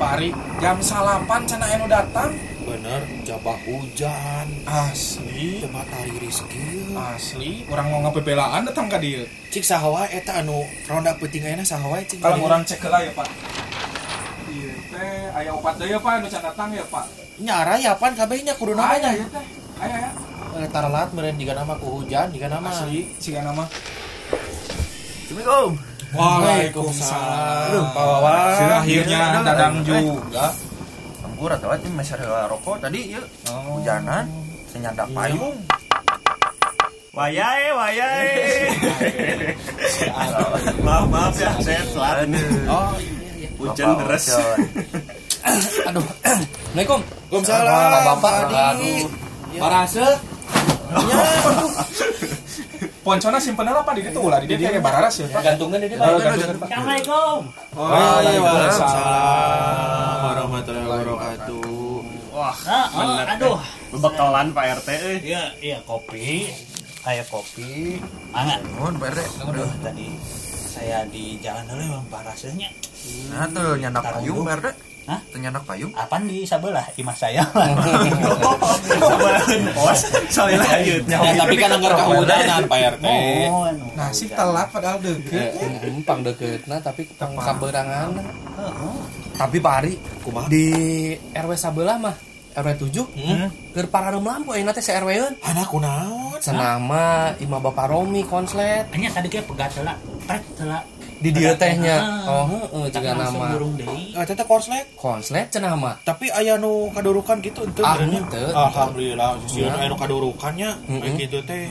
hari jam salapan cana anu datang bener jabah hujan asli tempat hari Rizky asli orang mau ngepebelaan datang ke dia cik sahawa eta anu ronda penting ayeuna sahawa cik kalau orang cek lah ya pak iya teh ayah opat deh ya pak anu can datang ya pak nyara ya pan kabehnya kudu namanya ya teh ayah ya Eh, taralat meren diga nama ku hujan diga nama asli ciga nama Assalamualaikum. Aduh, Pak Wawan. Sila akhirnya Iya, dadang iya. juga Tempur atau apa masih ada rokok tadi yuk. Hujanan, senyandak Iya. payung. Wayai, wayai. maaf, maaf ya, saya telat. oh Hujan deras. aduh assalamualaikum waalaikumsalam Waalaikumsalam. bapak adi Aduh. parase poncona simpenan apa di ditu lah di dia kayak bararas ya pak gantungan ini Oh, pak gantungan, Pak. Oh, Oh, iya, iya, Waalaikumsalam warahmatullahi wabarakatuh. Wah, Ah, ah, melet, eh. aduh. Bebekalan Pak RT. eh. Iya, iya kopi. Kayak kopi. Angat. Mohon Pak RT. Aduh, tadi saya di jalan dulu emang parasenya. Nah tuh nyandak Taruh payung dulu. Pak RT. Hah? Tuh Nyandak payung. Apaan di sebelah imah saya? Sabarahan pos, soalnya lanjut. Ya, tapi kan anggar kehujanan Pak RT. Mohon. nasi Nah, telat padahal Eh, deket Empang deketna tapi pang Tepang. kaberangan. Heeh. Tapi Pak Ari di RW sabelah mah RW 7 hmm. keur parareum lampu ayeuna teh RW eun. Anak kunaon. Senama Ima Bapak Romi konslet Hanya tadi kayak pegat lah, pret lah. di dieu tehnya. Ah. Oh, heeh Tapi jeung langsung nama burung deui. Eta teh Eh, korslet. konslet cenama. Tapi aya nu kadurukan gitu ente. Ah, berarti. ente. Alhamdulillah, sih Ya. aya nu kadurukannya Mm-mm. kayak gitu teh.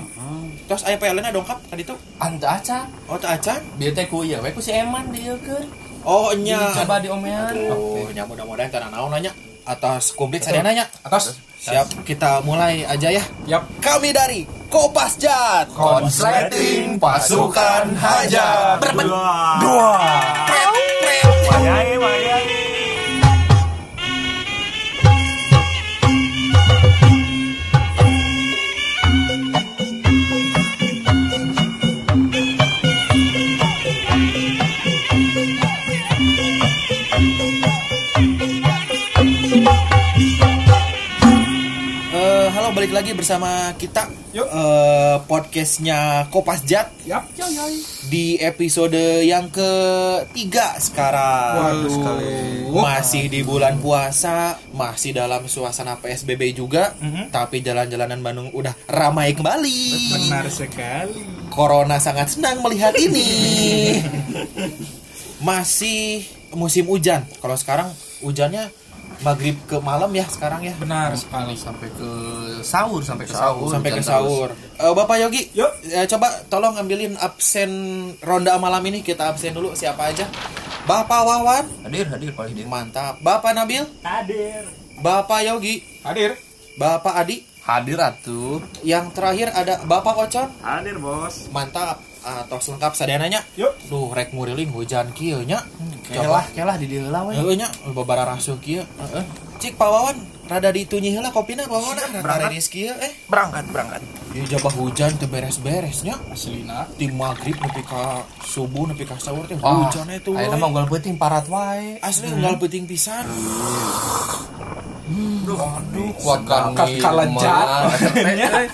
Terus aya PLN-na dongkap tadi tuh. Anta acan Oh, teh acan. Bieu teh ku ieu we ku si Eman dieu keur. Oh, nya. Coba diomean. Oh, nya mudah-mudahan karena naon nanya atas komplit saya nanya. atas Siap, kita mulai aja ya. yap Kami dari Kopasjat. Konsleting pasukan hajat. Dua. Wayai, wayai. Eh, halo balik lagi bersama kita Yuk. Eh, podcastnya Kopasjat yap di episode yang ketiga sekarang. Waduh, sekali. Masih di bulan puasa, masih dalam suasana PSBB juga, tapi jalan-jalanan Bandung udah ramai kembali. benar sekali Corona sangat senang melihat ini. Masih musim hujan. Kalau sekarang hujannya maghrib ke malam ya sekarang ya. benar sekali sampai ke sahur sampai ke sahur sampai ke hujan sahur. Eh, Bapak Yogi, Yuk. eh, coba tolong ambilin absen ronda malam ini kita absen dulu siapa aja. Bapak Wawan, Hadir, hadir, Pak Hadir. mantap. Bapak Nabil, Hadir. Bapak Yogi, hadir Bapak Adi. Hadir atuh. Yang terakhir ada Bapak Ocon, Hadir, Bos. mantap. Atau lengkap sadananya. Yuk. Duh, rek muriling hujan kieu nya. Hmm, Kelah, kelah di dieu lah we. Heeh nya babara rasuk kieu. Heeh. Cik Pak Wawan rada ditunyih heula kopina Pak Wawan ah, rada Berangkat. riris kieu eh. Berangkat, berangkat. Ieu jabah hujan teu beres-beres nya. aslina Di maghrib nepi ka subuh nepi ka sahur teh Ah, hujan itu. Ayeuna mah gol peuting parat wae. Asli unggal penting pisan. Aduh, kuat kan Ka- kalejat.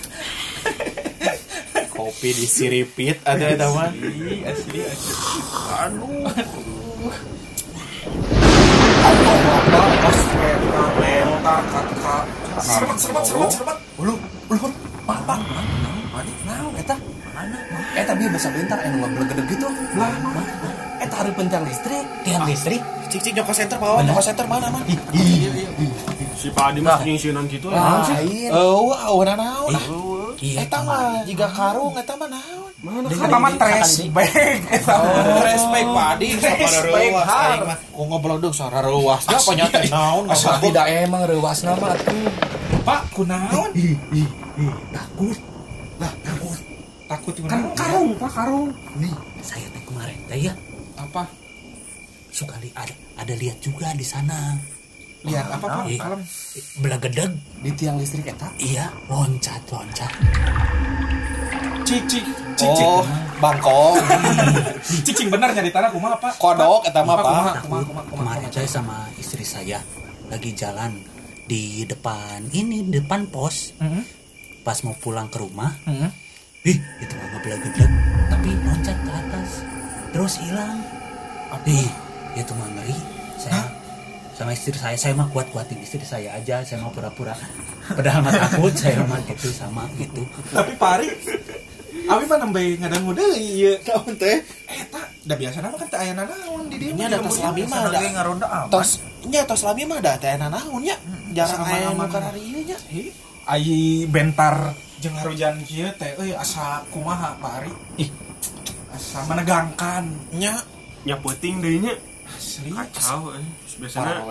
Kopi disiripit ada eta mah. asli asli serbat serbat serbat serbat Ulu, ulu, papa. Naon eta? Eta bieu basa bentar anu ngablegedeg gitu. Lah, eta hari pencar listrik, tiang listrik. Cik cik nyoko center Pak Wawan, nyoko center mana mah? Si Pak Adi gitu, mah jeung sieunan kitu lah. Lain. Eueuh, aweuna naon? Eh, Iya, Eta mah jiga karung eta mah naon? Eta mah trash bag Eta Oh. mah. Respect Pak Adi Respect, Har. Ku ngoblodog sarareuas Iya, da panyata naon Asal tidak tidak emang rewasna mah atuh. Pak kunaon Takut. Lah, takut. takut kan karung Pak karung Nih, saya teh kemarin teh ya apa suka li- ada ada lihat juga di sana Eh, lihat apa Pak Iya. Ah, kalem belegedeg di tiang listrik eta iya loncat loncat cicik cicik Oh. bangkok Cicing bener nyari tanah kumaha apa? kodok eta mah apa Kumaha, kumaha, kumaha, kemarin saya sama istri saya lagi jalan di depan ini depan pos pas mau pulang ke rumah ih itu mah ngebelag-belag tapi loncat ke atas terus hilang ih itu mah ngeri saya sama istri saya saya mah kuat kuatin istri saya aja saya mau pura-pura padahal mah takut saya mah gitu sama gitu Tapi pari. Abi mah nembe ngadangu deui ieu. naon teh Eta da biasana mah kan teu aya nanaon di dieu. Nya ada tos lami mah ada. Tos nya tos lami mah ada teh nanaon nya. Jarang aya nu karari ieu nya. Ai bentar jeung harujan kieu teh euy asa kumaha pari. Ih. Asa menegangkan. Nya nya penting deui nya Asli kacau eh. Terus biasanya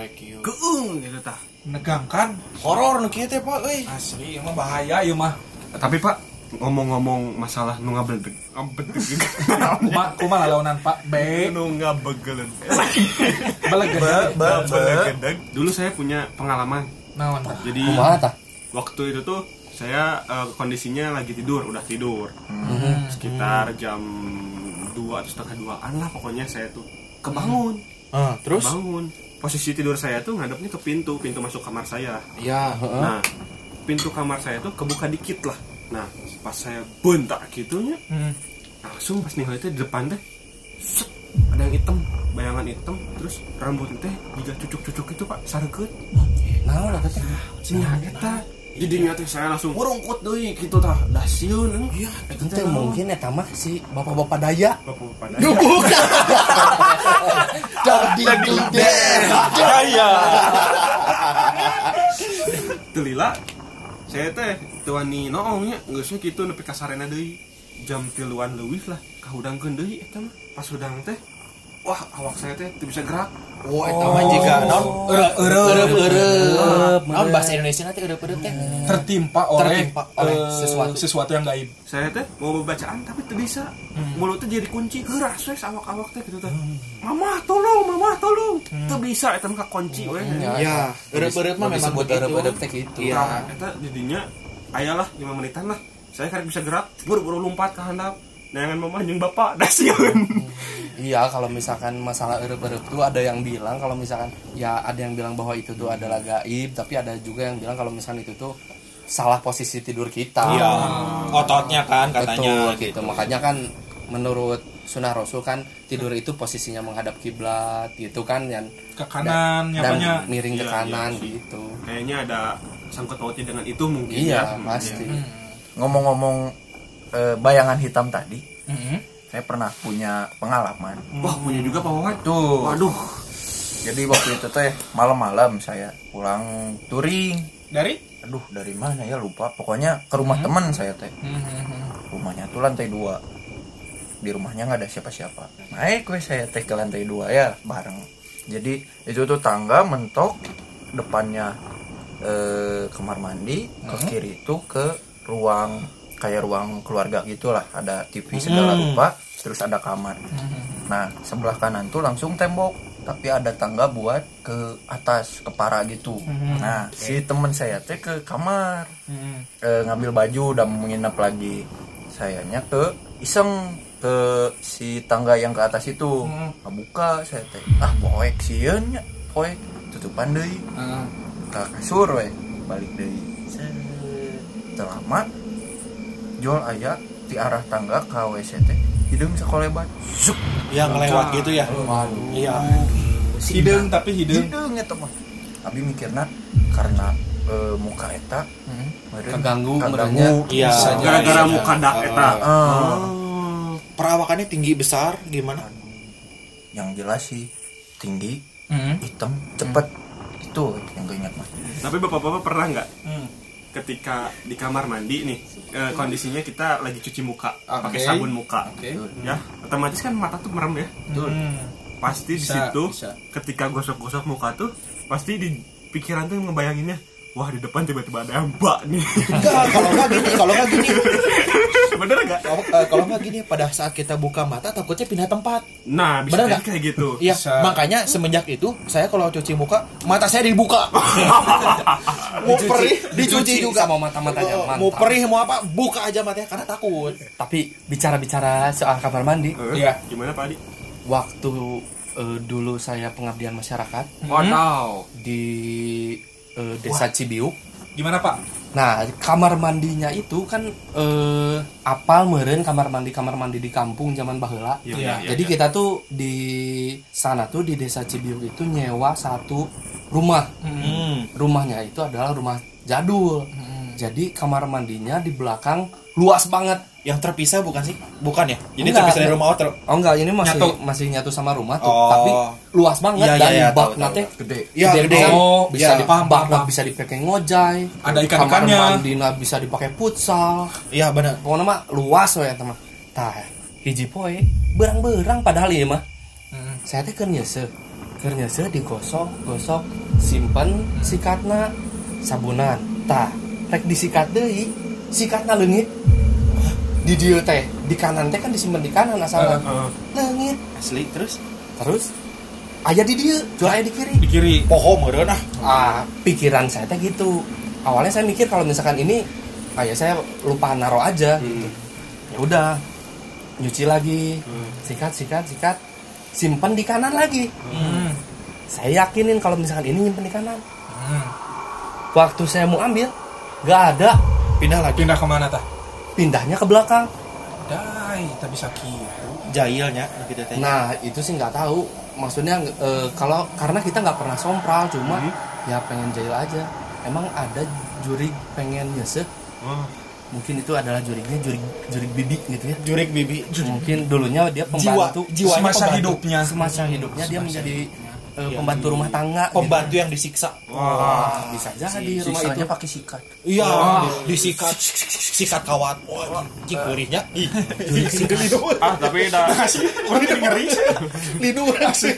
keung gitu tah menegangkan. horor nu kieu teh Pak euy. Asli emang bahaya ieu mah. tapi pak ngomong-ngomong masalah nu gitu. ngabledeg ngabledeg Kumaha kumaha laonan Pak? Be nu ngabegelen belegedeg. Eh, ngabegedeg dulu saya punya pengalaman Naon? Pak? jadi Kumaha tah? waktu itu tuh saya eh, kondisinya lagi tidur udah tidur sekitar jam dua atau setengah duaan lah pokoknya saya tuh kebangun Ah, terus kebangun posisi tidur saya tuh ngadepnya ke pintu pintu masuk kamar saya ya heeh. Nah, pintu kamar saya tuh kebuka dikit lah. Nah, pas saya bentak gitunya, Hmm. langsung pas nih itu di depan teh, set, ada yang hitam, bayangan hitam, terus rambutnya teh juga cucuk-cucuk itu pak, sarget. Naon lah teh? Sinya eta, jadinya teh saya langsung ngurungkut deui gitu tah, dasiun. Iya, Itu teh mungkin eta mah si bapak-bapak daya. Bapak pada Bukan. Jadi daya. telila, saya teh tuani noongnya, geusnya gitu nepi ka sarena deui. Jam tiluan leuwih lah, kahudangkeun deui eta mah. Pas hudang teh, wah awak saya teh teu bisa gerak. Wah, eta mah Oh. jiga naon? Eureup-eureup. Naon bahasa Indonesia nanti eureup-eureup teh? tertimpa oleh, Tertimpa oleh eh, sesuatu. sesuatu yang gaib. saya teh mau bacaan tapi teu bisa mulutnya jadi kunci geras wes awak-awak teh gitu teh mama tolong mama tolong teu bisa eta mah kunci we Ya, eureup-eureup mah memang buat eureup-eureup teh gitu. Nah, eta jadinya ayalah 5 menitan lah saya karek bisa gerak buru-buru lompat ke handap Nangan mama jeung bapak dasieun. Iya, kalau misalkan masalah erup-erup tuh ada yang bilang kalau misalkan ya ada yang bilang bahwa itu tuh adalah gaib, tapi ada juga yang bilang kalau misalkan itu tuh salah posisi tidur kita. Iya, Ah. ototnya kan Betul, katanya. gitu. Makanya kan menurut sunnah Rasul kan tidur itu posisinya menghadap kiblat gitu kan yang Ke kanan, nyapanya. dan miring ke Iya, kanan iya sih. gitu. Kayaknya ada sangkut pautnya dengan itu mungkin Iya, ya. pasti. Hmm. ngomong-ngomong eh, bayangan hitam tadi Hmm. saya pernah punya pengalaman Wah, punya juga Pak Wawan. tuh Waduh, jadi waktu itu teh malam-malam saya pulang touring Dari? aduh dari mana ya lupa pokoknya ke rumah teman saya teh rumahnya tuh lantai dua di rumahnya nggak ada siapa-siapa naik weh saya teh ke lantai dua ya bareng jadi itu tuh tangga mentok depannya eh, kamar mandi ke kiri itu ke ruang kayak ruang keluarga gitulah ada TV segala rupa terus ada kamar nah sebelah kanan tuh langsung tembok tapi ada tangga buat ke atas kepala gitu nah si temen saya teh ke kamar eh, ngambil baju dan menginap lagi sayanya ke iseng ke si tangga yang ke atas itu buka saya teh ah poek sieun nya poek tutupan deui ke kasur we balik deui terlama jual aja di arah tangga ke WC teh hidung sekolebat Zup, Yang lewat gitu ya. Iya. Hidung tapi hidung. hidung eta mah abi mikirna karena eh, muka eta meureun Keganggu, kaganggu Iya. gara-gara muka dak eta. Ah. Perawakannya tinggi besar gimana? yang jelas sih tinggi Hmm. hitam cepet itu yang gue ingat mah Tapi bapak-bapak pernah nggak ketika di kamar mandi nih eh, kondisinya kita lagi cuci muka pakai Oke. sabun muka, Oke. ya otomatis kan mata tuh merem ya. Pasti di Bisa, situ bisa. ketika gosok-gosok muka tuh pasti di pikiran tuh ngebayanginnya wah di depan tiba-tiba ada mbak nih. Enggak, kalau nggak gini, kalau nggak gini, Bener nggak? kalau eh, kalau nggak juga gini pada saat kita buka mata takutnya pindah tempat Nah, bisa Bener jadi nggak? kayak gitu. Iya, Bisa. makanya semenjak itu saya kalau cuci muka mata saya dibuka. mau Dicuci. perih dicuci Dicuci juga sama mata-matanya, Oh, Mau mantap. perih mau apa buka aja matanya karena takut. Tapi bicara-bicara soal kamar mandi, Eh, Iya. Gimana Pak Adi? waktu eh, dulu saya pengabdian masyarakat Hmm. Wow. di eh, desa Cibiuk. Gimana Pak? Nah, kamar mandinya itu kan eh, apal meren kamar mandi kamar mandi di kampung zaman baheula. Nah, Iya, Iya, iya, Jadi iya. kita tuh di sana tuh di desa Cibiuk itu nyewa satu rumah. Hmm. Rumahnya itu adalah rumah jadul. Jadi kamar mandinya di belakang luas banget. Yang terpisah bukan sih? Bukan ya? Jadi Enggak, terpisah dari enggak. rumah hotel. Oh enggak, ini masih Nyatu. masih nyatu sama rumah tuh, Oh. tapi luas banget Iya, dan iya, iya, bak tahu, tahu, nate tahu. gede Iya, Ya, gede gede. banget. bisa Iya. dipakai bak nate bisa dipakai ngojai, Ada ikan-ikannya. kamar mandinya bisa dipakai futsal. Iya benar. Pokoknya mah luas we eta mah. Tah, hiji poe berang-berang padahal ieu mah. Saya teh keur nyeuseuk. Keur nyeuseuk digosok, gosok, simpen sikatna sabunan. Tah, rek disikat deui, sikatna leungit. Di dieu teh, di kanan teh kan disimpen di kanan asalna. Heeh. Leungit. Asli terus Terus aya di dieu, jual aya di kiri. Di kiri. poho meureun ah. Ah, pikiran saya teh gitu. Awalnya saya mikir kalau misalkan ini kayak saya lupa naro aja gitu. Ya udah nyuci lagi. Sikat, sikat, sikat. Simpen di kanan lagi. Saya yakinin kalau misalkan ini nyimpen di kanan. Waktu saya mau ambil, nggak ada. Pindah lagi. Pindah kemana tah? Pindahnya ke belakang. Dai, tak bisa kiri. Jahilnya gitu teh. Nah, itu sih nggak tahu. Maksudnya eh, kalau karena kita nggak pernah sompral, cuma ya pengen jahil aja. Emang ada juri pengen nyesek Wah, mungkin itu adalah jurignya jurig jurig bibi gitu ya Jurik bibi. mungkin dulunya dia pembantu Jiwa, jiwanya Semasa pembantu. hidupnya. semasa hidupnya dia menjadi eh, pembantu rumah tangga gitu. Pembantu yang disiksa. Wah, bisa jadi di rumah itu sisanya pakai sikat Iya, disikat sikat kawat. Wah, anjing gurihnya. Ih, ah tapi dah Gurih ngeri. Lidu asli.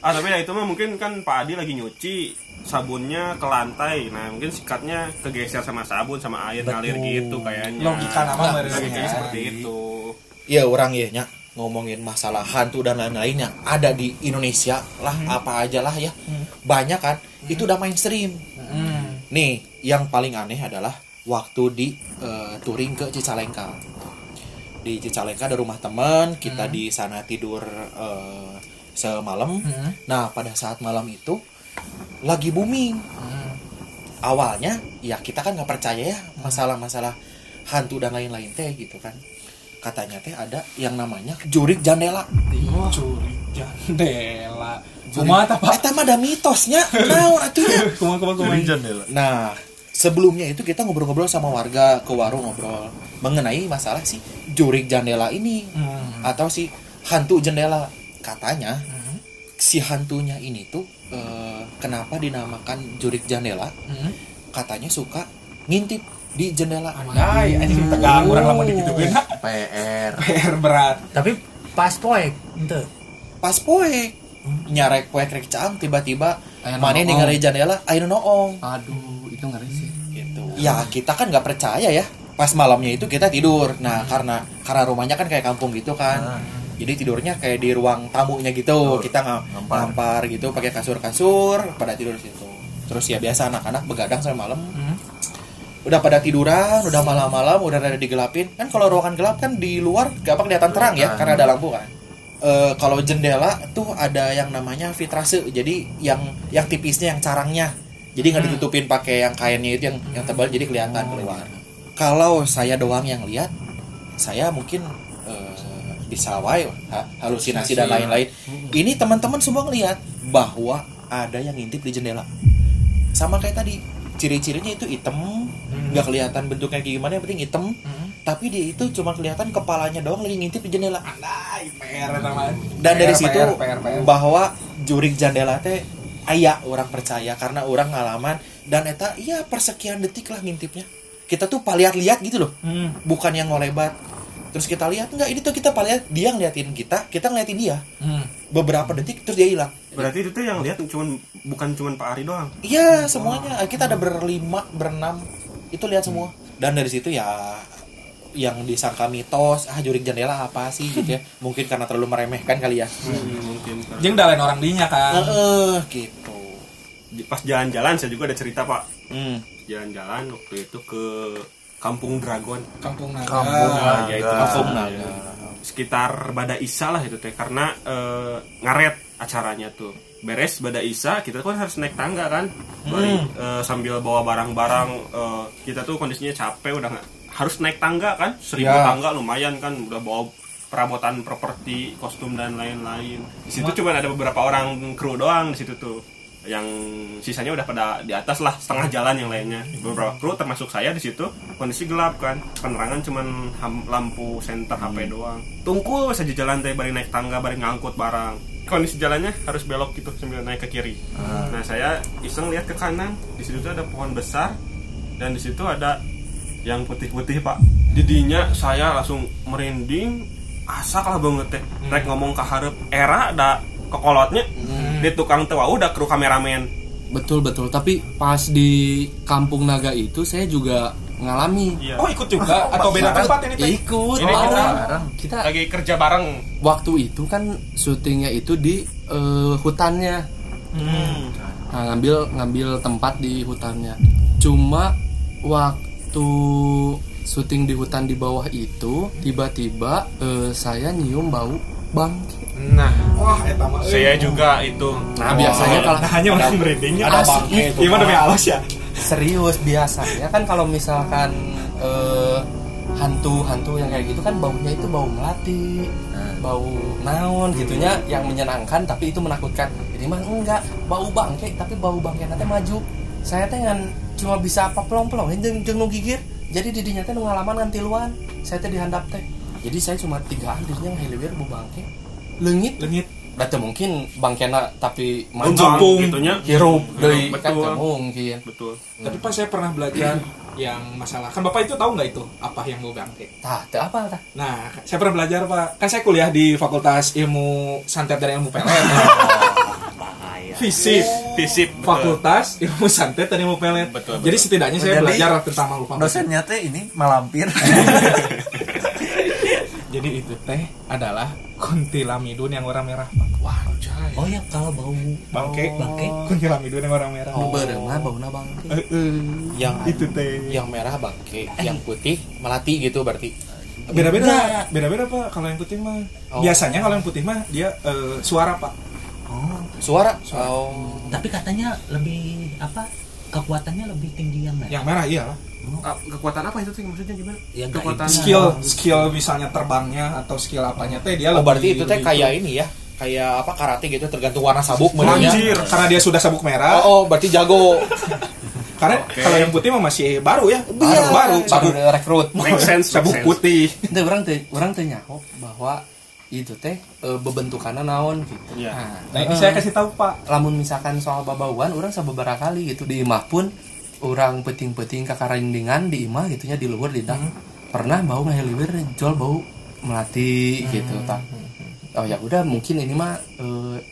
ah tapi dah itu mah mungkin kan Pak Adi lagi nyuci sabunnya ke lantai nah mungkin sikatnya kegeser sama sabun sama air ngalir gitu kayaknya Logika nama ya. logikanya mereka. seperti itu Iya orang ya nya ngomongin masalah hantu dan lain-lainnya ada di Indonesia lah apa aja lah ya banyak kan itu udah mainstream Hmm. nih yang paling aneh adalah waktu di eh, touring ke Cicalengka di Cicalengka ada rumah teman kita di sana tidur eh, semalam nah pada saat malam itu lagi booming awalnya ya kita kan nggak percaya ya masalah-masalah hantu dan lain-lain teh gitu kan katanya teh ada yang namanya jurik jandela Curi jandela. Cuma apa? Eta Eh, mah ada mitosnya naon atuh ya? Kuma kuma kuma. ya, nah sebelumnya itu kita ngobrol-ngobrol sama warga ke warung ngobrol mengenai masalah si jurik jandela ini Hmm. Hmm. atau si hantu jendela katanya si hantunya ini tuh eh, kenapa dinamakan jurik jandela Hmm. katanya suka ngintip di jendela Dai, anjing Hmm. tegang orang lama dikituin. PR PR berat. tapi pas poek ente pas poek nyarek poek rek caang tiba-tiba Aya mana noong. ningali jendela ayo noong aduh itu ngeri sih ya kita kan nggak percaya ya pas malamnya itu kita tidur nah karena karena rumahnya kan kayak kampung gitu Ah. kan jadi tidurnya kayak di ruang tamunya gitu kita nggak Ngampar. ngampar gitu pakai kasur-kasur pada tidur di situ terus ya biasa anak-anak begadang sampai malam udah pada tiduran udah malam-malam udah ada digelapin kan kalau ruangan gelap kan di luar gak apa kelihatan terang ya karena ada lampu kan Eh, kalau jendela tuh ada yang namanya vitrase jadi yang yang tipisnya yang carangnya jadi nggak ditutupin pakai yang kainnya itu yang yang tebal jadi kelihatan keluar kalau saya doang yang lihat saya mungkin eh, bisa wae ha- halusinasi dan lain-lain ini teman-teman semua ngelihat bahwa ada yang ngintip di jendela sama kayak tadi ciri-cirinya itu hitam nggak kelihatan bentuknya kayak gimana yang penting hitam tapi dia itu cuma kelihatan kepalanya doang lagi ngintip di jendela Dai, PR teman. dan PR, dari situ PR, PR. bahwa jurik jendela teh aya orang percaya karena orang ngalaman dan eta iya persekian detik lah ngintipnya kita tuh palihat-lihat gitu loh bukan yang ngolebat terus kita lihat nggak ini tuh kita palihat dia ngeliatin kita kita ngeliatin dia beberapa detik terus dia hilang berarti itu tuh yang lihat cuman bukan cuman Pak Ari doang Iya Hmm. semuanya kita ada berlima berenam itu lihat semua dan dari situ ya yang disangka mitos ah jurik jendela apa sih gitu ya mungkin karena terlalu meremehkan kali ya Hmm, mungkin karena- Jeng dalain orang dinya eh kan. eh, gitu Di- pas jalan-jalan saya juga ada cerita pak hmm. jalan-jalan waktu itu ke Kampung Dragon Kampung naga. Kampung Ah, ya itu Kampung Kampung Naga. sekitar Bada Isa lah itu teh karena eh, ngaret acaranya tuh beres Bada Isa kita kan harus naik tangga kan Bari, eh, sambil bawa barang-barang eh, kita tuh kondisinya capek udah nggak harus naik tangga kan seribu Ya. tangga lumayan kan udah bawa perabotan properti kostum dan lain-lain di situ cuma ada beberapa orang kru doang di situ tuh yang sisanya udah pada di atas lah setengah jalan yang lainnya beberapa kru termasuk saya di situ kondisi gelap kan penerangan cuman ham- lampu senter HP doang tungkul saja jalan teh bari naik tangga bari ngangkut barang kondisi jalannya harus belok gitu sambil naik ke kiri nah saya iseng lihat ke kanan di situ tuh ada pohon besar dan di situ ada yang putih-putih pak jadinya saya langsung merinding asak lah banget teh rek ngomong ke hareup era da kekolotnya di tukang "Oh, tewa udah kru kameramen betul betul tapi pas di kampung naga itu saya juga ngalami iya Oh ikut juga atau beda tempat ini teh? ikut Ini mau. kita- kita lagi kerja bareng waktu itu kan syutingnya itu di eh, hutannya Nah, ngambil ngambil tempat di hutannya cuma waktu syuting di hutan di bawah itu tiba-tiba eh, saya nyium bau bangkit nah Wah, eta mah. euy. saya juga itu nah biasanya kalau Nah, hanya orang merindingnya. ada Asik. bangke itu, Gimana demi alas ya? serius biasanya kan kalau misalkan eh, hantu-hantu yang kayak gitu kan baunya itu bau melati bau naon gitunya yang menyenangkan tapi itu menakutkan jadi mah enggak bau bangke tapi bau bangke nanti maju saya teh ngan cuma bisa apa pelong pelong jeung jeung nu gigir jadi didinya teh nu ngalaman nganti luan saya teh dihandap teh jadi saya cuma tigaan dirinya ngahiliwir bau bangke leungit Lengit. da teu mungkin bangkena tapi Untung, maju gitunya hirup deui Hirup, kan betul. teu mungkin betul Tapi pas saya pernah belajar yang masalah kan bapak itu tahu nggak itu apa yang gue bangke? Tah, teu apa tah? Nah, saya pernah belajar pak. Kan saya kuliah di Fakultas Ilmu Santet dan Ilmu Pelet. bahaya fisip fisip betul Fakultas Ilmu Santet dan Ilmu Pelet. Betul, betul. Jadi setidaknya saya Jadi- belajar tentang makhluk makhluk. dosennya teh ini malampir Jadi itu teh adalah kuntilamidun yang warna merah. Pak. Wah, coy. oh ya kalau bau Bangke, bangke kuntilamidun yang warna merah. oh. bauna bangke Eh, eh. yang Itu teh. yang merah bangke yang putih melati gitu berarti Beda-beda, beda-beda pak. Kalau yang putih mah, Oh. biasanya kalau yang putih mah dia eh, suara pak. oh suara oh tapi katanya lebih apa kekuatannya lebih tinggi yang merah Yang merah iya. iyalah. Ah, kekuatan apa itu tuh maksudnya gimana Ya, nggak kekuatan itu. skill skill misalnya terbangnya atau skill apanya teh dia lebih- Oh, gitu. berarti itu teh lebih- kayak ini ya kayak apa karate gitu tergantung warna sabuk menunya Anjir, karena dia sudah sabuk merah. oh, oh berarti jago Karena kalau yang putih mah masih baru ya, baru baru. baru baru rekrut Iya. make sense sabuk make sense. putih. itu orang teh orang teh nyaho bahwa itu teh e, bebentukanna naon gitu Iya. Nah, ini saya kasih tahu Pak. lamun misalkan soal babauan orang sababaraha kali gitu di imah pun orang peting-peting kakarindingan di imah gitunya di luar di dak pernah bau ngahiliwir jual bau melati gitu tah oh ya udah mungkin ini mah e,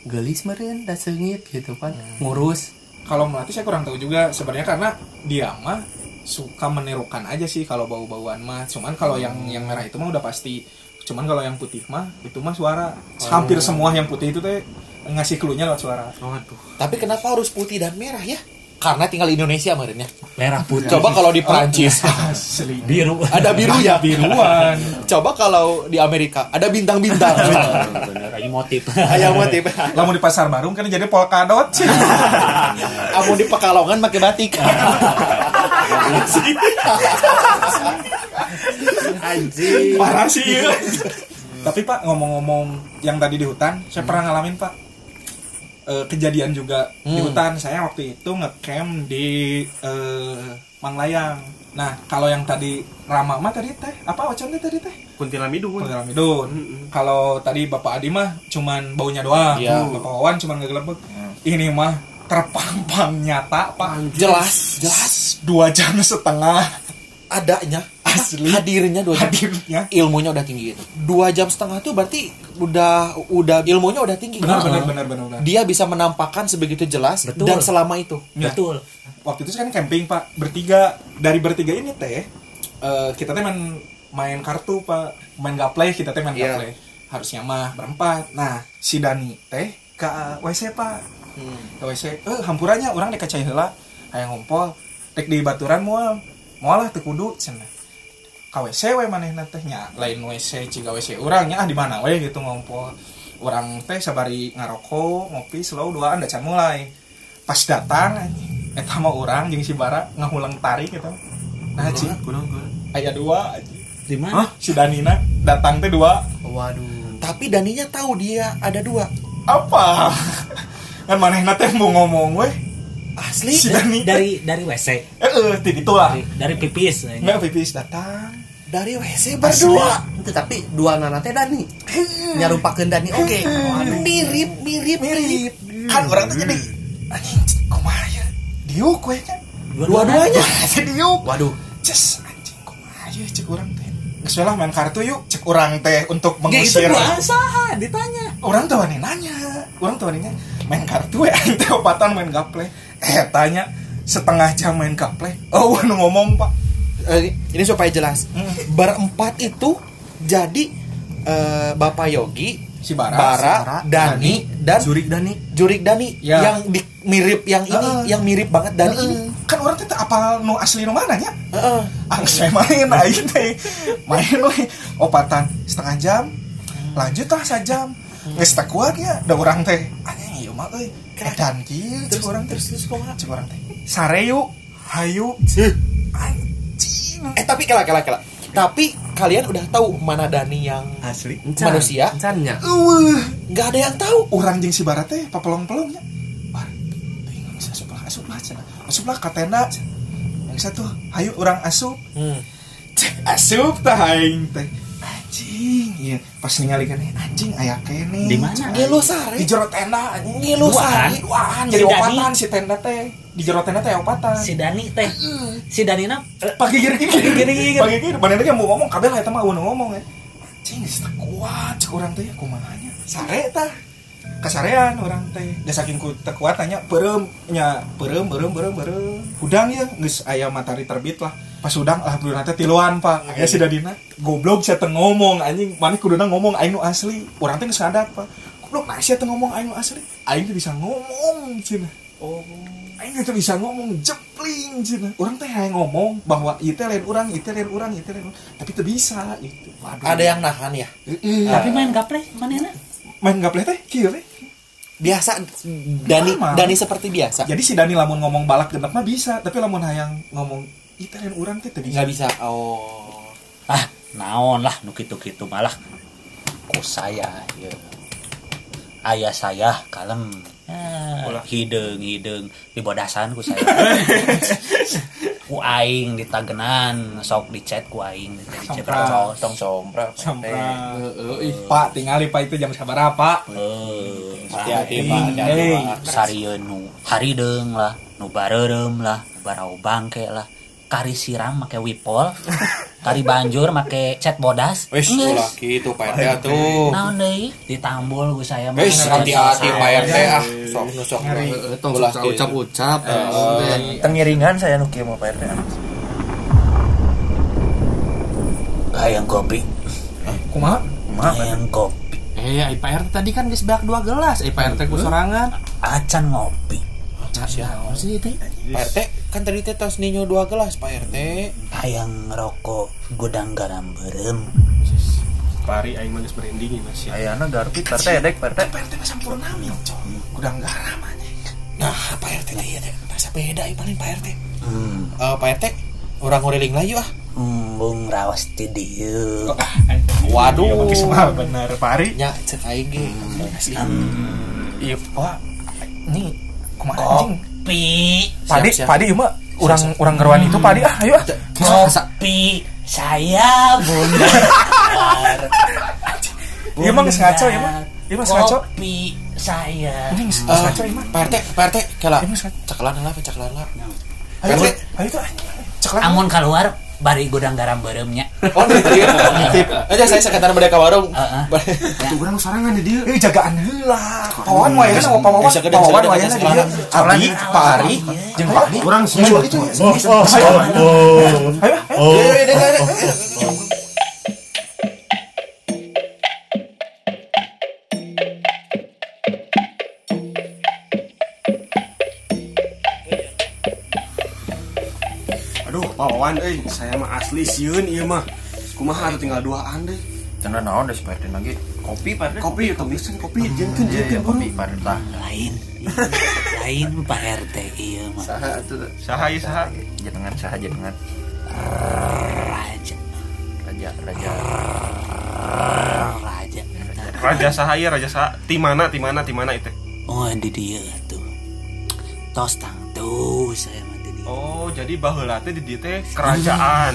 gelis meren da seungit gitu kan ngurus Kalau melatih saya kurang tahu juga sebenarnya karena dia mah suka menirukan aja sih kalau bau-bauan mah. Cuman kalau yang yang merah itu mah udah pasti. Cuman kalau yang putih mah itu mah suara. Hampir semua yang putih itu teh ngasih klunya lewat suara. tapi kenapa harus putih dan merah ya karena tinggal di Indonesia kemarinnya merah putih coba kalau di Perancis Asli. biru ada biru ya Biruan. coba kalau di Amerika ada bintang-bintang bener ini motif ayam motif Lamun di pasar baru kan jadi polkadot sih. kamu di Pekalongan pakai batik anjing Parah sih ya. Tapi Pak ngomong-ngomong yang tadi di hutan, Hmm. saya pernah ngalamin Pak Eh, kejadian juga di Hmm. hutan. Saya waktu itu ngecamp di eh, Manglayang. Nah kalau yang tadi Rama mah tadi teh apa ocan teh tadi teh? kuntilamidun Pengalaman Hmm, Kalau tadi Bapak Adi mah cuman baunya doang. Iya. Hmm. Bapak Wawan cuman ngegelembek. Ini mah terpampang nyata Pak. jelas jelas Dua jam setengah adanya Asli. hadirnya dua jam hadirnya. ilmunya udah tinggi itu dua jam setengah tuh berarti udah udah ilmunya udah tinggi Benar benar benar benar. benar. dia bisa menampakkan sebegitu jelas Betul. dan selama itu Ya. betul waktu itu kan camping pak bertiga dari bertiga ini teh eh, kita teh main main kartu pak main gaplay kita teh main Iya. gaplay harusnya mah berempat nah si Dani teh ke WC pak ke WC eh hampurannya orang dek kacai heula hayang ngumpul dek di baturan moal moal lah teu kudu cenah ka WC we manehna teh nya lain WC ciga WC urang nya ah di mana we gitu ngumpul orang teh sabari ngarokok ngopi slow duaan da can mulai pas datang anjing, eta mah orang jeung si Bara ngahulang tari gitu nah cing kurang kurang aya dua anjing. Di mana? si Danina datang teh dua Waduh. Tapi Daninya tahu dia ada dua. apa kan manehna teh mau ngomong weh Asli. si Dani eh Dari dari WC, eh ti ditu lah dari, dari pipis. nggak pipis datang Dari WC berdua. berdua. Itu tapi dua nana teh Dani. Nyarupakeun Dani oke. Waduh. Mirip, Iya, mirip, mirip. Kan orang tuh jadi anjing kumaha ya diuk weh kan dua-duanya. si diuk Waduh. Ces, anjing kumaha ya cek orang teh Geus we lah main kartu yuk cek orang teh untuk Ya itu mengusir bahasa ditanya. orang tuh wani nanya orang tuh wani nanya, main kartu ya aing teh opatan main gaple eh tanya setengah jam main gaple oh anu ngomong pak Eh, ini supaya jelas. Hmm. Berempat itu jadi eh, Bapak Yogi, si Bara, Bara, Dani, dan Jurik Dani Jurik Dani Ya. yang di- mirip yang ini, Heeh. yang mirip banget Dani ini. kan orang teh apa nu asli nu mana nya Heeh. Angsa main aing teh. Main we opatan setengah jam. Lanjut lah sajam. Geus tak kuat ya da urang teh. Anjing ieu mah euy. Kedan kieu cek urang teh. Terus kumaha cek urang teh? Sareyu, hayu. Anjing. Eh tapi kela kela kela. Tapi kalian udah tahu mana Dani yang asli manusia? Uh, Encannya. Eueuh, Nggak ada yang tahu. urang jeung si Barat teh papelong-pelongnya. Bar, teuing geus asup lah, asup lah cenah. Asup lah ka tenda. cenah. Yang satu, hayu urang asup. Cek asup tah aing teh. Anjing, iya. Pas ningali keneh anjing aya kene. Di mana? Dia lu sare. di jero tenda Iya, lu duaan sehari. duaan jadi Si Dani. opatan si tenda teh di jero tenda teh opatan Si Dani teh. Si Dani na eh, pakai giri giri Giri, giri. pakai giri mana dia mau ngomong kabel lah itu mah udah ngomong ya cing geus teu kuat cek orang teh kumahanya sare tah kasarean orang teh geus saking ku teu kuat tanya beureum nya beureum beureum beureum beureum udang ya geus aya matahari terbit lah pas udang alhamdulillah teh tiluan pak aya si Dadina goblok sia teu ngomong anjing mana kuduna ngomong aing nu asli urang teh geus ngadak pak goblok mana sia teu ngomong aing nu asli aing teh bisa ngomong cenah Aing itu bisa ngomong jepling cina. Orang teh yang ngomong bahwa itu lain orang, itu lain orang, itu lain orang. Tapi itu bisa itu. Waduh. Ada yang nahan ya. Eh, tapi main gaple mana na? main nggak boleh teh kieu teh. Biasa Dani Normal. Dani seperti biasa. Jadi si Dani lamun ngomong balak genep mah bisa, tapi lamun hayang ngomong itu lain orang teh teu bisa. Nggak bisa. Oh. Ah, naon lah nu kitu-kitu malah ku saya ieu. Ayah saya kalem. Ah, hideung-hideung dibodasan ku saya. ku aing ditagenan sok dicet ku aing dicet Sampras. tong sompral. Sampra. Ih, Pak, tinggali Pak itu jam sabar apa? Eh, Hati-hati, Pak. Hati-hati, Hey. Pak. sarieu eh, nu harideng lah nu bareureum lah nu barau bangke lah kari siram make wipol kari banjur make cat bodas Wis, Nges. ulah gitu Pak RT atuh. naon deui ditambul ku saya mah. Wis, hati-hati Pak RT Ngeri. ah. Sok nu sok. nu. Heeh, tong Ulah suka gitu. ucap-ucap. Eh, tengiringan saya nuki mau Pak RT hayang kopi kumaha? hayang kopi Eh, ai Pak RT tadi kan geus beak dua gelas. Ai Pak RT ku sorangan. acan ngopi Naon sih teh? Pak RT kan tadi teh tos ninyo dua gelas Pak RT. hayang rokok gudang garam berem pari aing mah geus branding ya Mas ya ayana garpit Pak RT edek Pak RT Pak RT mah sampurna mil, cok. Gudang garam anjing. Nah, Pak RT teh ieu teh. Rasa beda ieu paling Pak RT. hmm Eh, Pak RT urang nguriling layu ah. embung rawas ti dieu Iya, Waduh. pakai semua bener pari. Nya cek aing ge. Asli. iya Pak Nih, kumaha anjing? pi Padi Siap, siap. Padi ieu mah urang urang ngeruan itu Padi ah ayo ah kopi saya bundar Ieu mah geus ngaco ieu mah. Ieu mah geus ngaco. kopi saya Anjing, geus Eh, ngaco ieu mah. Pak RT, Pak RT, kala. Emang sakit? Caklan lah, caklan lah. Ayo, Ayo, tuh, ayo tuh, ayo. Ceklan. amun keluar bari gudang garam beremnya Eh, Oh, iya. Aja saya sekatan mereka warung. Heeh. tuh orang sorangan di dieu Eh, jagaan heula. Pawan wae kan sama pawan. Bisa gede, bisa Pawan gede, wae bisa lagi gede. dia. Abdi, Pari, jeung Padi. Iya, orang semua Ayo, Oh, ayo. Iya, iya, iya, iya, iya. Wawan euy, eh, saya mah asli sieun ieu mah. Kumaha atuh tinggal duaan deui. Canda naon deh Pak Ridwan lagi. Kopi Pak Ridwan. Kopi tong geus kopi jeung Iya, iya, jeung kopi Pak Ridwan. Tah. lain iya. lain Pak RT iya mah Ah, Saha ieu saha? eh, Jenengan saha jenengan. raja Raja raja. raja Raja saha ieu raja saha? Ti mana ti mana ti mana itu. oh di dia tuh tos tang tuh saya mah di dia Oh, jadi baheula teh di dieu teh kerajaan.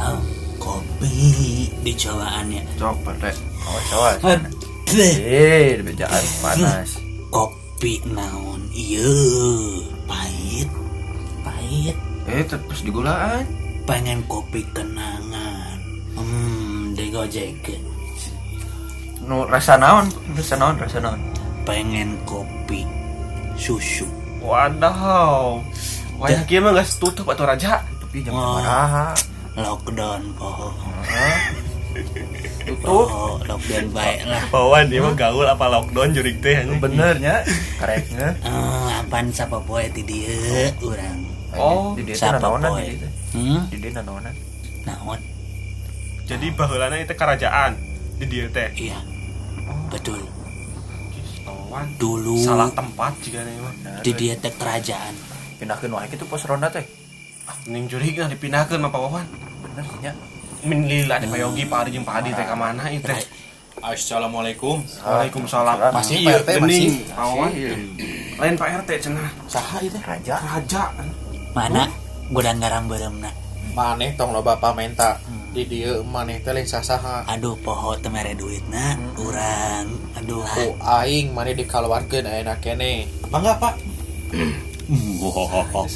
Am, kopi di cobaannya Cok Pak Ridwan. Awas awas. Aduh, Eh, bejaan panas. kopi naon iya pahit pahit Eh, terus digulaan. pengen kopi kenangan hmm di Gojek. Nu rasa naon? Rasa naon? Rasa naon? pengen kopi susu Wadaw. Wayah kieu mah geus tutup atuh raja. Tapi Oh. jangan marah. lockdown poho Tutup. poho lockdown baik lah Bawan dia mah gaul apa lockdown jurig teh anjing. Benernya. Kareknya. Eh, apaan siapa poe ti dia urang Oh, di dia teh siapa nanaonan poe di dia teh. hmm Di dia nanaonan. naon Jadi baheulana itu kerajaan di dieu teh. iya betul Wawan dulu salah tempat juga nih mah. di dia teh kerajaan Pindahkeun wae kitu pos ronda teh. Mending jurig nah dipindahkeun mah Pak Wawan. Bener sih iya. nya. Min lila di Pak Yogi, Pak Ari jeung Pak Adi teh ka mana ieu teh? Assalamualaikum. Waalaikumsalam. Masih Pak Iya, RT masih. bening, Pak Wawan. Lain Pak RT cenah. Saha itu? Raja. Raja. mana gudang garam beremna Maneh tong loba pamenta di dieu maneh teh lain sasaha. aduh poho temere duit na urang aduh Ku Oh, aing maneh dikaluarkeun ayeuna kene. Mangga Pak.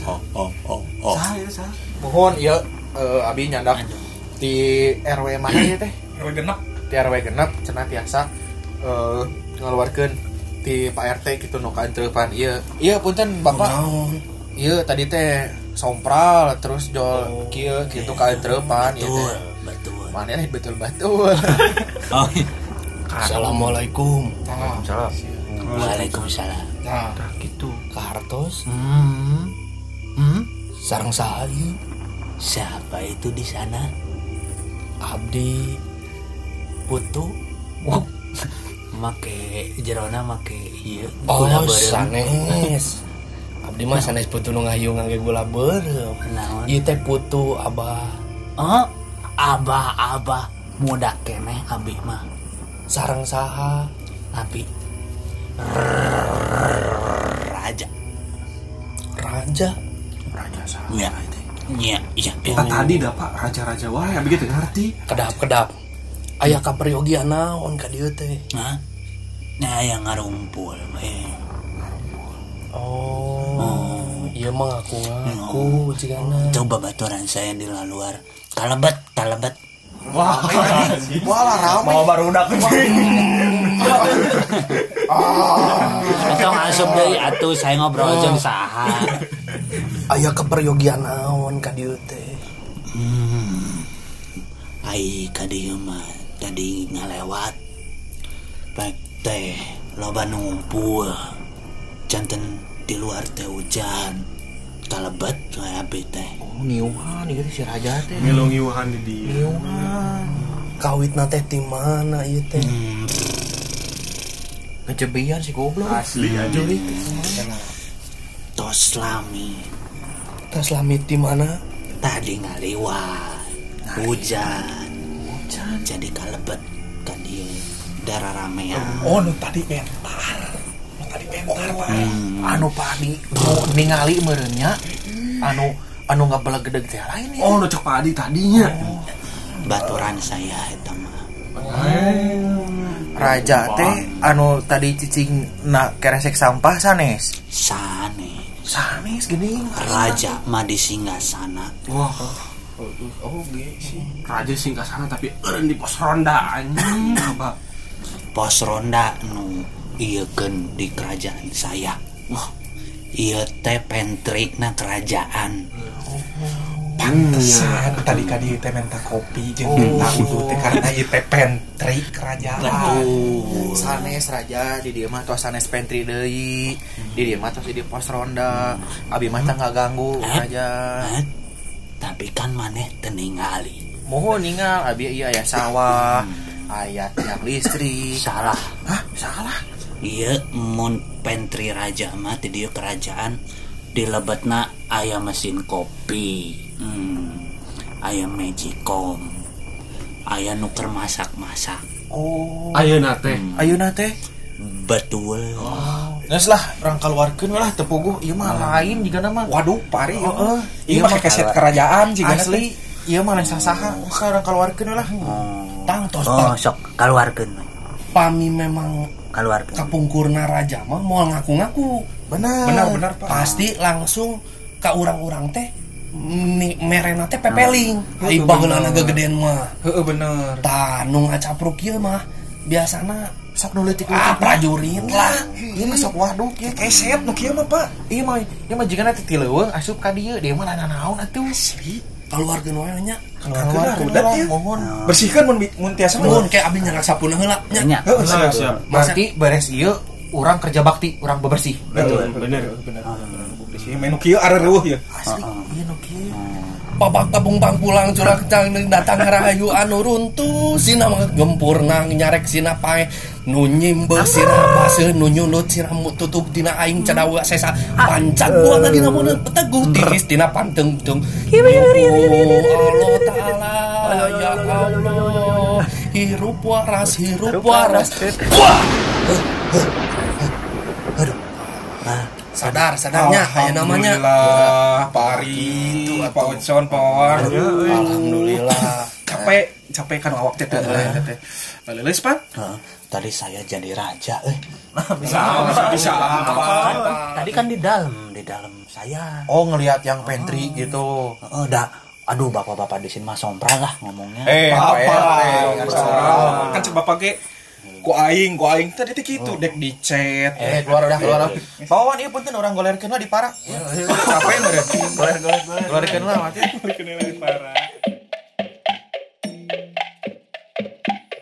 Sah ieu sah. Mohon ieu eh, abi nyandak di RW mana ieu teh? Rw genep Di RW genep cenah tiasa eh ngaluarkeun di Pak RT gitu nu kaentreupan ieu. Iya punten Bapak. Iya tadi teh sompral Oh, terus jol kieu gitu kaentreupan ieu betul teh. betul Maneh betul-betul. oh Assalamualaikum. Salah. waalaikumsalam Nah, Gitu. kartos hmm hmm sarang saha ieu? siapa itu di sana Abdi putu Oh. make jerona make iya Oh, gula bareng. sanes. Abdi mah sanes putu nu ngayu ngangge gula beureum. Naon? Ieu teh putu abah oh abah abah muda keneh abi mah sarang saha? abi raja Raja. Raja sah. ya ya iya Kita tadi dah Pak raja-raja wae abi gitu ngarti. Kedap-kedap. Aya ka peryogian naon ka dieu teh? Hah? nah yang ngarumpul eh Oh, iya mah aku Oh. aku cigana. coba baturan saya di luar kalebet kalebet Walah rame. Mau baru udah atau ngasup dari atuh saya Oh. ngobrol jeung saha Aya ka peryogian naon ka dieu teh? Hmm. Hai kadieu mah tadi ngalewat Pek teh loba numpul Janten di luar teh hujan Kalebet kayak abi teh Niuhan Oh, ieu si raja teh. Milongiuhan di dieu. Ah. Niuhan. Kawitna teh ti mana ieu teh? Hmm, Ngecebian si goblok. Asli aja. Tos lami Tas lamit di mana? tadi ngaliwat Hujan Jadi kalebet kadieu darah ramean Oh, nu tadi bentar. Nu tadi bentar, Pak. Hmm, Anu padi nu ningali meureun nya. Anu anu ngabelegedeg teh lain ya. Oh, nu cek Pak Adi tadinya. Baturan saya eta mah Raja teh anu tadi cicing na keresek sampah sanes. Sane Sanes gini. Raja mah di singgasana Wah. Oh, ge sih. Raja sih ke sana tapi eureun di pos ronda anjing. Abah. pos ronda nu iya gen di kerajaan saya wah iya teh pentri na kerajaan Pantesan tadi kadi teh minta kopi jeung Oh. minta utuh teh karena ieu teh pantry kerajaan. sanes raja di dieu mah tos sanes pantry deui di dieu mah tos di dieu pos ronda abi mah teh ganggu Eh? raja Hah? tapi kan maneh teningali mohon ningal abi iya ayah sawah ayah tiang listrik salah hah salah iya mun pentri raja mah di dieu kerajaan di lebetna aya mesin kopi hmm. aya magicom aya nuker masak-masak Oh. Ayo nate. ayeuna teh betul Nes lah, orang keluarkan lah tepuguh Iya mah lain juga nama Waduh, pari. Oh, eh. Iya mah keset kerajaan juga Asli Iya mah lain sasaha Usah orang keluarkan lah Hmm. Tang tos oh sok keluarkan pami memang keluarkan kapungkurna raja mah mau ngaku-ngaku benar. Benar benar pak. pasti langsung ke orang-orang teh ni merena teh pepeling ai bageulana gegedean mah Heeh bener. tanung acapruk ieu mah biasana Sok nu leutik ah prajurit lah Iya mah sok waduh kieu keset nu kieu mah pak. Iya mah Iya mah jika nanti tileweng Asup kadieu Dia mah lana naon atuh keluargeun wae nya Keluar kudat ya. Mohon Bersihkan mun mun tiasa mun kayak abdi nyarak sapuna heula nya banyak Heeh, siap. siap. Berarti beres iya Orang kerja bakti Orang bebersih Betul, benar, benar. Bersih menu kieu are reueuh ya. babak tabung-bang pulang curah kencang deung datang rahayu anu runtuh sina mah gempurna nyarek sina pae nu nyimbe sina base nu nyulut sina tutup dina aing cadawa sesa pancat buana dina mulut teguh tiris dina panteng dung Ya Allah taala ya Allah hirup waras hirup waras wah sadar sadarnya aya namanya Alhamdulillah, pari, Pak Ocon, Pak War. alhamdulillah Capek, capek kan awak teh teh. Lelis pan. Heeh, tadi saya jadi raja eh Bisa apa? tadi kan di dalam di dalam saya Oh ngelihat yang pantry gitu. Heeh, dah aduh bapak-bapak di sini mah sompral lah ngomongnya Eh, Pak RT, Pak. seorang. kan coba pakai ku aing, ku aing tadi teh gitu dek di chat. Eh, Eh keluar dah keluar dah Pawan iya punten orang golerkeun lah di parak Oh, Capek meureun. Golerkeun lah mati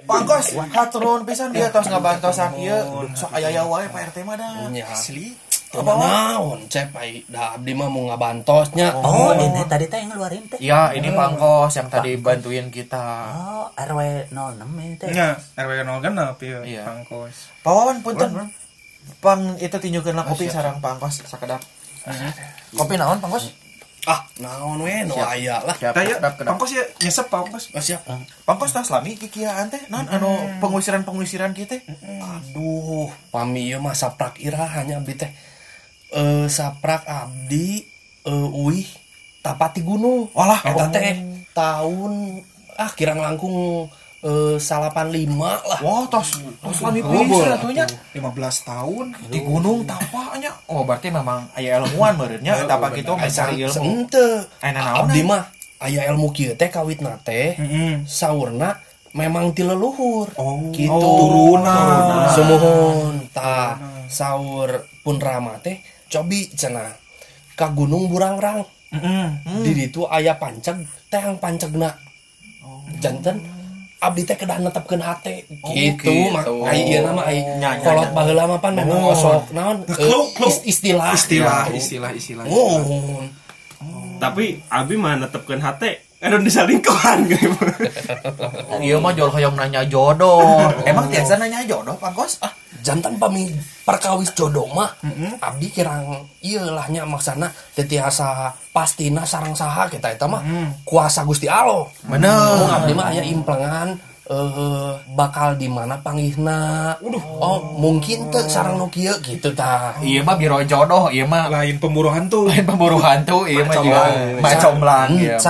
Pangkos, haturun pisan dia tos ngabantosan iya Sok ayaya wae Pak RT mah dah Ya. Asli Apa naon cep ai da abdi mah mau ngabantosnya. oh ini tadi teh yang ngeluarin teh Ya, ini Pangkos yang tadi bantuin kita. oh RW 06 ini teh Nya, Nah, RW 06 ya, Iya. pangkos. Pawawan punten. Pang itu tinjukeun lah kopi sarang Pangkos sakedap. Kopi naon Pangkos? Ah, naon we nu aya lah. Siap, Ah. Taya, kedap, kedap. pangkos ya nyesep pangkos. Oh, siap. Pangkos tas lami kikiaan teh naon anu Hmm. pengusiran-pengusiran kieu teh. Aduh, pami ieu mah saprak irahanya abdi teh. Eh saprak abdi eh uih tapati gunung. Walah, Ah, Eta teh tahun ah kirang langkung eh, salapan lima lah. Wah, tos tos lami pisan atunya. 15 tahun di gunung tapanya. Oh, berarti memang aya ilmuwan meureunnya Eh, eta apa gitu mencari ilmu. Sente. Aya naon? Abdi mah aya ilmu kieu teh kawitna teh Heeh. saurna memang ti leluhur. Oh, Gitu. turunan. Sumuhun ta saur pun rama teh cobi cenah ka gunung burangrang. Heeh. Di ditu aya panceg teang pancegna. Janten abdi teh kedah netepkeun hate gitu mah ai ieu mah ai kolot baheula mah pan memang osok naon eh, is- istilah Iya. Istilah, istilah, istilah. Mohon. Tapi Abi mah netepkeun hate. Aduh disalingkuhan gitu. Ieu mah jol hoyong nanya jodoh. Emang tiasa nanya jodoh Pangkos? Ah, jantan pami perkawis jodoh mah abdi kirang ielahnya maksana tetiasa pastina sarang saha kita eta mah kuasa gusti allah bener abdi mah aya implengan eh bakal di mana pangihna oh mungkin teu sarang nu kieu gitu tah ieu mah biro jodoh, ieu mah Lain pemburu hantu. lain pemburu hantu, ieu Iya, mah juga macomlang Hmm, ieu mah.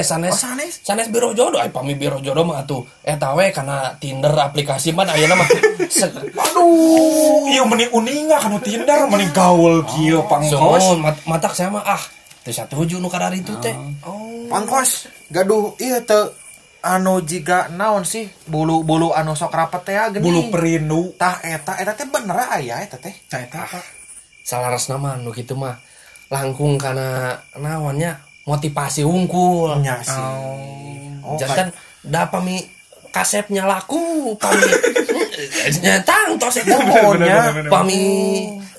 sanes sanes sanes sanes biro jodoh ay pami biro jodoh mah atuh eta we kana tinder aplikasi mah ayeuna mah se- Aduh, iya mending uninga kan Tinder mending gaul kieu pangkos. Soalnya mat- matak saya mah ah teu satuju nu kadar itu teh. Pangkos, gaduh ieu teu anu jiga naon sih bulu-bulu anu sok rapet teh geuning. Bulu perindu. tah eta eta teh bener ah, aya eta teh. Ah, Cai tah, Pak. Salaras nama nu kitu mah langkung kana naonnya motivasi unggul. Nya sih. Ah, Oh, kan da pami kasepnya laku pami nyetang tos eta bener, pohonnya pami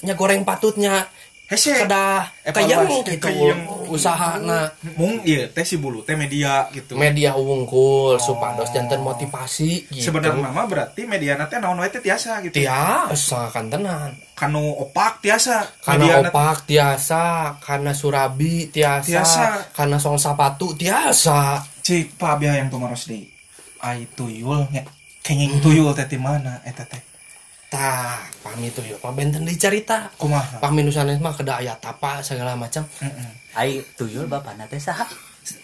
nya goreng patutnya Hese. Eh, kada kayang gitu. Kayang. usaha nah mung iya teh si bulu teh media gitu media wungkul Oh. supados jantan motivasi gitu sebenarnya mah berarti media teh naon wae teh tiasa gitu tiasa kan tenan kanu opak tiasa karena Mediana- opak tiasa karena surabi tiasa, Tiasa. karena sol sepatu tiasa Cik, Pak Abia yang tumaros deui. Ai tuyul nya. Kenging tuyul teh di mana eta teh? tah pami tuh ya benten dicerita Kumaha? pami nusanes mah kada aya tapa segala macam Ai tuyul bapana teh saha?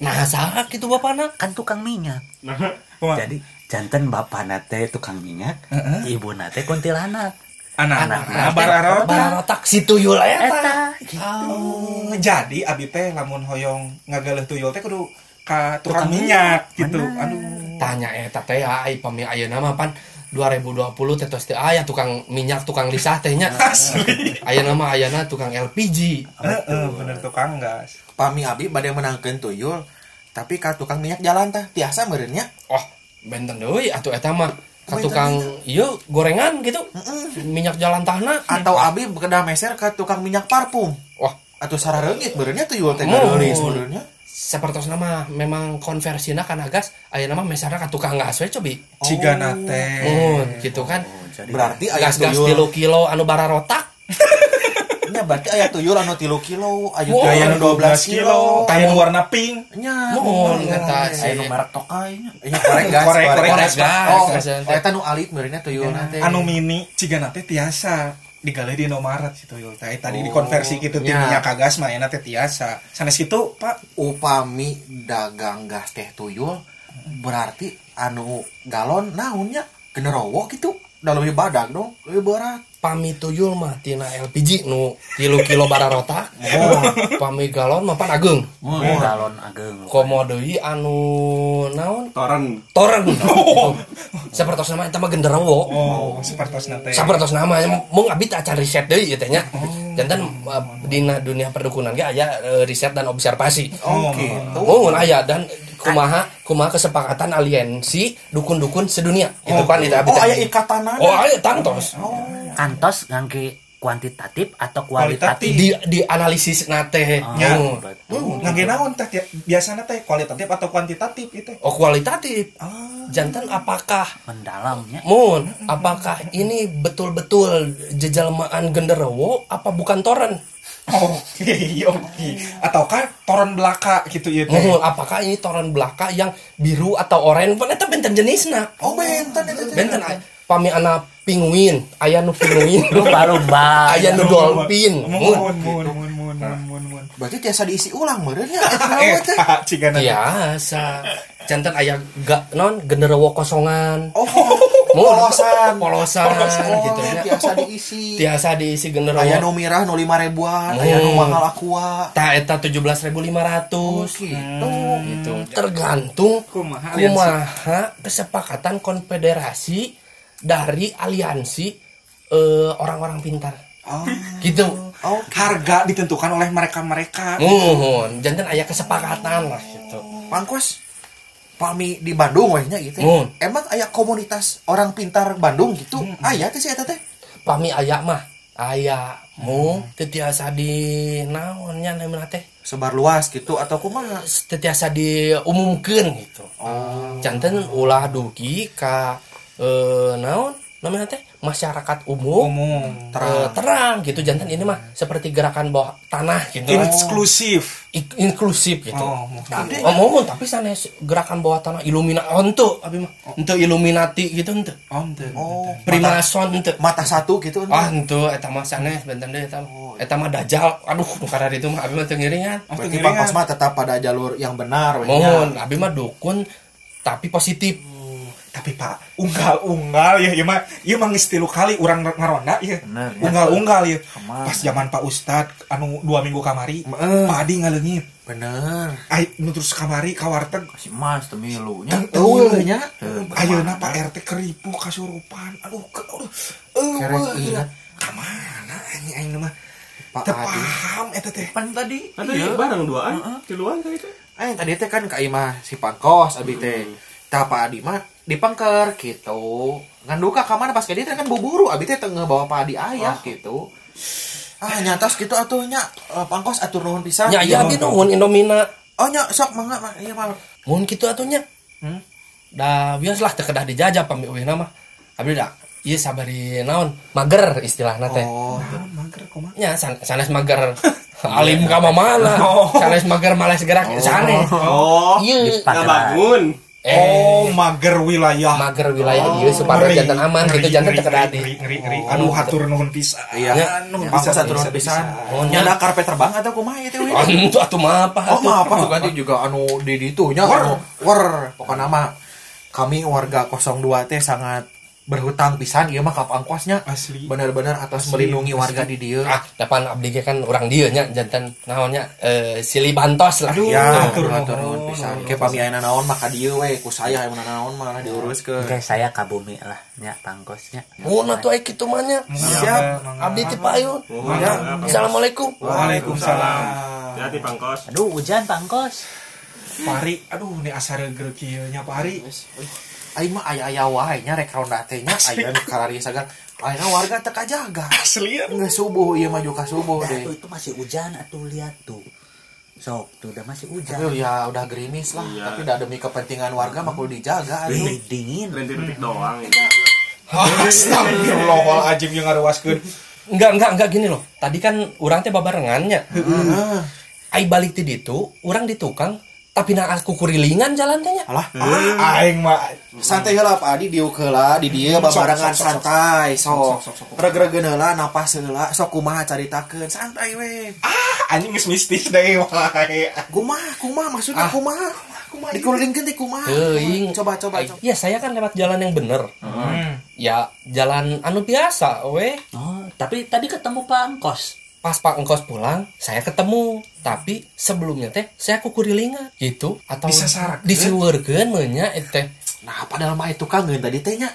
nah saha gitu bapana Kan tukang minyak. Kumaha? Jadi jantan bapana teh tukang minyak, ibu nate kuntilanak. anak-anak bararot bararotak si tuyul eta Eta Oh, jadi abi teh lamun hoyong ngagaleh tuyul teh kudu ka tukang minyak gitu. Aduh. tanya eta teh ai pami ayeuna mah pan 2020 teh tos teh aya tukang minyak tukang lisah teh nya ayeuna mah ayeuna tukang LPG Heeh, bener tukang gas. Pami abi badai menangkan tuyul tapi ka tukang minyak jalan tah tiasa merenya oh benten deui atuh eta mah ka tukang ieu gorengan gitu minyak jalan tahna atau abi bekedah meser ke tukang minyak parfum wah atau sararengit merenya tuyul teh Mun. gadulis merenya sepertos nama memang konversina kana gas ayeuna mah mesarna ka tukang gas we cobi Cigana teh. mun gitu kan Eh, oh, berarti ayah gas gas tuyul 3 kilo anu bararotak nya berarti ayah tuyul anu 3 kilo ayu Mun. tuyul Gaya anu 12 kilo kain warna pink. nya mun eta aya si nu merek tokai nya nya korek gas Korek, korek gas, oh gas, gas. oh, eta nu alit merenya tuyul teh Anu mini Cigana teh tiasa digaleh di Indomaret si tuyul teh. Oh, Tadi dikonversi gitu ti iya. Nya. minyak ka gas mah enak teh tiasa. Sanes kitu, Pak. upami dagang gas teh tuyul berarti anu galon naonnya generowo gitu udah lebih badak dong lebih berat pami tuyul mah tina LPG nu tilu kilo bararotak pami galon mah pan ageng galon ageng. komo deui anu naon Toren toren sapertos nama eta mah genderowo Oh, sepertosna teh. sapertos nama ya, mung abdi teh acan riset deui ieu teh nya Oh. jantan eh, dina dunia perdukunan ge aya eh, riset dan observasi oh, gitu mun aya dan kumaha kumaha kesepakatan aliansi dukun-dukun sedunia itu kan itu abdi oh teh. ayah ikatan oh aya tantos Kantos ngangge kuantitatif atau Kualitatif. kualitatif. di di analisis nate Ah. Ya. Oh. Oh, ngage naon teh tiap- biasana teh kualitatif atau kuantitatif Ya. itu. Oh kualitatif. Ah. Jantan apakah Mendalamnya. Mun, apakah ini betul-betul jejalmaan genderowo apa bukan toren? Eh. Oke, Oh, iya, oke. Iya. Ataukah toron belaka gitu ya teh. Mun, apakah ini toren belaka yang biru atau oranye? Pan eta benten jenisna. oh benten itu teh. Benten ay- pami ana pinguin, aya nu pinguin, Lumba-lumba. aya nu dolphin. Mun, Mun, Oh, mun, mun, mun, mun, mun, mun. berarti biasa diisi ulang merenya Eh, iya. ah, cigana. biasa. Jantan aya ga, non genderowo kosongan. oh Mun, polosan polosan, gitu ya. biasa diisi Tiasa diisi genderowo. ayah nu mirah nu lima ribuan Hmm. ayah nu mahal aqua Ta eta 17.500 gitu gitu. Hmm, Tergantung Kumaha kumaha, aliansi. kesepakatan konfederasi dari aliansi eh, orang-orang pintar. Gitu. Ah, oh, Iya. Harga ditentukan oleh Oh. mereka-mereka. Mohon, jantan aya kesepakatan lah gitu. pangkos pami di Bandung wehnya gitu Mun. emang ayah komunitas orang pintar Bandung gitu ayah teh sih eta teh Pami aya mah aya mu tetiasa di naonnya namanya teh sebar luas gitu atau kumaha tetiasa diumumkeun gitu. Jantan ulah dugi ka eh, naon namanya teh masyarakat umum. Umum. Eh, terang gitu jantan ini mah seperti gerakan bawah tanah gitu Eksklusif. Ik- inklusif gitu Oh, tapi oh, mohon, tapi sana gerakan bawah tanah ilumina oh ente abi mah ente illuminati gitu ente Oh, ente. oh mata, primason ente mata satu gitu ah ente eta mah sanes bentar deh eta mah eta mah dajal aduh nukara itu mah abi mah teu ngiringan berarti Pengiringan. pangkos mah tetap pada jalur yang benar Oh, wehnya mohon abi mah dukun tapi positif Tapi Pak, unggal-unggal ya, ya mah, ya mah geus tilu kali urang ngaronda ya. Unggal-unggal ya. Pas zaman Pak Ustad anu dua minggu kamari, Pak Adi ngaleungit. bener Ai nu terus kamari kawarteg Si Mas temilunya. oh wehnya Ayeuna Pak RT keripu kasurupan. Aduh, ke, aduh. Kerek Eueuh. ingat. Ka mana anjing aing mah? Pak Teu Adi. paham eta teh. Pan tadi. Ada barang duaan Tiluan kayak itu eh tadi teh kan ka imah si pangkos abi teh tah Pak Adi mah dipangker Oh. gitu ngan duka ka mana pas ka dia teh kan buburu abi teh teu bawa Pak Adi ayah gitu ah nyatas gitu atuhnya eh, pangkos atur nuhun Ah, pisan nya aya atuh nuhun indomina oh nya sok mangga mah iya mah mun kitu atuhnya Hmm? da biasalah teu kedah dijajah pami euy mah abdi da ieu sabari naon mager istilahna teh oh naon mangker kumaha nya san- sanes mager alim ka mana Oh. sanes mager males gerak sanes oh ieu nggak bangun eh oh mager wilayah mager wilayah ieu supaya jantan aman Ngeri, kitu jantan ngeri, teu kedah di ngeri, ngeri, ngeri. Oh, aduh hatur nuhun pisan iya nuhun bisa satu nuhun pisan nya da karpet terbang atau kumaha ieu teh weh? Anu atuh mah apa? oh atuh. mah apa tuh ganti juga anu di di itu nya anu war pokoknya mah kami warga 02 teh sangat berhutang pisan ieu mah ka pangkosnya Asli. benar-benar atas melindungi warga di dieu ah depan abdi ge kan orang dieu nya jantan naonnya eh sili bantos lah Iya. Aduh, Ya, ya, atur atur nuhun. nuhun pisan. Ke pami ayeuna naon mah ka dieu we, ku saya ayeuna naon mah lah diuruskeun. Oke, saya kabumi lah, nya pangkosnya. Oh, nah tuh kitu mah nya. Siap. Abdi ti payun. Ya. Iya. Assalamualaikum. Oh, Waalaikumsalam hati pangkos Aduh, hujan pangkos. Pari aduh ini asare geureuh kieu nya Pari Aing mah aya-aya wae nya rek ronda teh nya aya nu kararia sagan. Ayeuna warga teu kajaga. asli Geus subuh ieu mah juga subuh Oh, Nah, deh. itu, itu masih hujan atuh lihat tuh. Sok, tuh udah masih hujan. Aduh, ya udah gerimis lah, Iya. tapi udah demi kepentingan warga mah kudu dijaga anu. atuh. Ih, dingin. rentik-rentik doang ini Astagfirullahaladzim yang ngaruaskeun Enggak, enggak, enggak gini loh. Tadi kan orang teh babarengannya. Ai balik ti ditu, urang di tukang tapi na aku kurilingan jalan teh nya. Ah, Ah, aing mah santai heula Pak Adi diuk heula di dieu babarengan sok, sok, sok. santai sok. Sok, sok, sok. Regregen heula napas heula sok kumaha caritakeun santai we. anjing geus mistis deui wae Kumaha kumaha maksudnya kumaha? Ah. Kumaha Eh. dikurungkeun teh kumaha? Teuing. Coba coba Ai, coba. Ya saya kan lewat jalan yang bener. Ya jalan anu biasa we. Oh, tapi tadi ketemu pangkos. Pas Pak Engkos pulang, saya ketemu. Tapi sebelumnya teh saya kurilingan gitu atau Disasarak. disiweurkeun we nya eh, teh. Nah, padahal mah itu kangen tadi teh nya.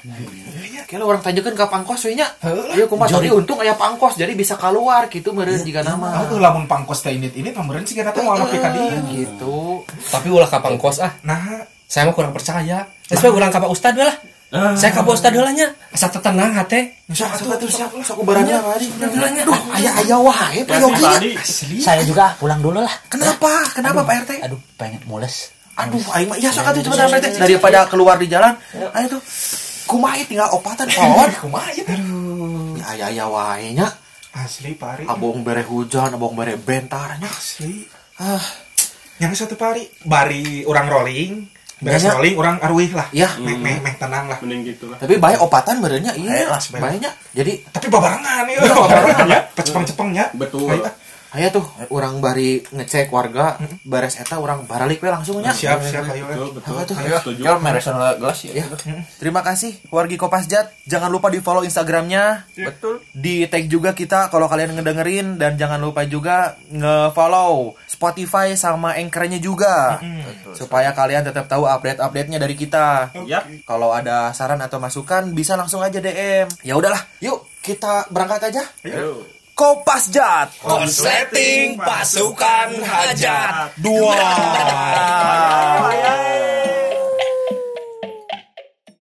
Kayaknya orang tanyakan ke pangkos we nya. Iya kumaha tapi untung aya pangkos jadi bisa keluar gitu meureun jiga Ah. nama. Aku lamun pangkos teh ini ini pameureun sih kata mau make ka dieu. gitu. Tapi ulah ka Pangkos ah. Nah, saya mah kurang percaya. Nah. Saya kurang kapa ustad we lah. Saya kapa ustad we lah nya. Asa tenang hate. Sok atuh atuh sok sok ubarannya Pak Adi. Ubarannya. Duh, aya aya wae Pak kasih Yogi. tadi Saya juga ah, pulang dulu lah. Kenapa? Kenapa Pak RT? Aduh, pengen mules. Aduh, aing mah iya sok atuh cepetan Pak RT daripada keluar di jalan. Ayo tuh. Kumaha ieu tinggal opatan pohon kumaha ieu teh. Ya aya aya wae nya. asli pari. Abong bere hujan, abong bere bentarnya. Asli. Ah, Yang satu pari, bari orang rolling, beres Banyak. rolling orang aruih lah. Iya. Hmm. Meh meh meh tenang lah. mending gitu lah tapi bae opatan berenya iya. Bae lah, sebenarnya. Bae nya. Jadi Tapi babarangan ya. babarangan, ya. Cepeng-cepengnya. Betul. Aya tuh orang bari ngecek warga beres eta orang baralik we langsungnya. Siap siap ayo. betul betul Apa tuh? setuju Ya meresan lah gelas ya. Ya. Terima kasih wargi Kopasjat. Jangan lupa di follow Instagramnya. Betul. Di tag juga kita kalau kalian ngedengerin dan jangan lupa juga nge-follow Spotify sama Anchor-nya juga. Supaya kalian tetap tahu update-update-nya dari kita. Yap. Kalau ada saran atau masukan bisa langsung aja DM. Ya udahlah, yuk kita berangkat aja. Ayo. Kopasjat. Konsleting pasukan hajat. Dua. Ayah.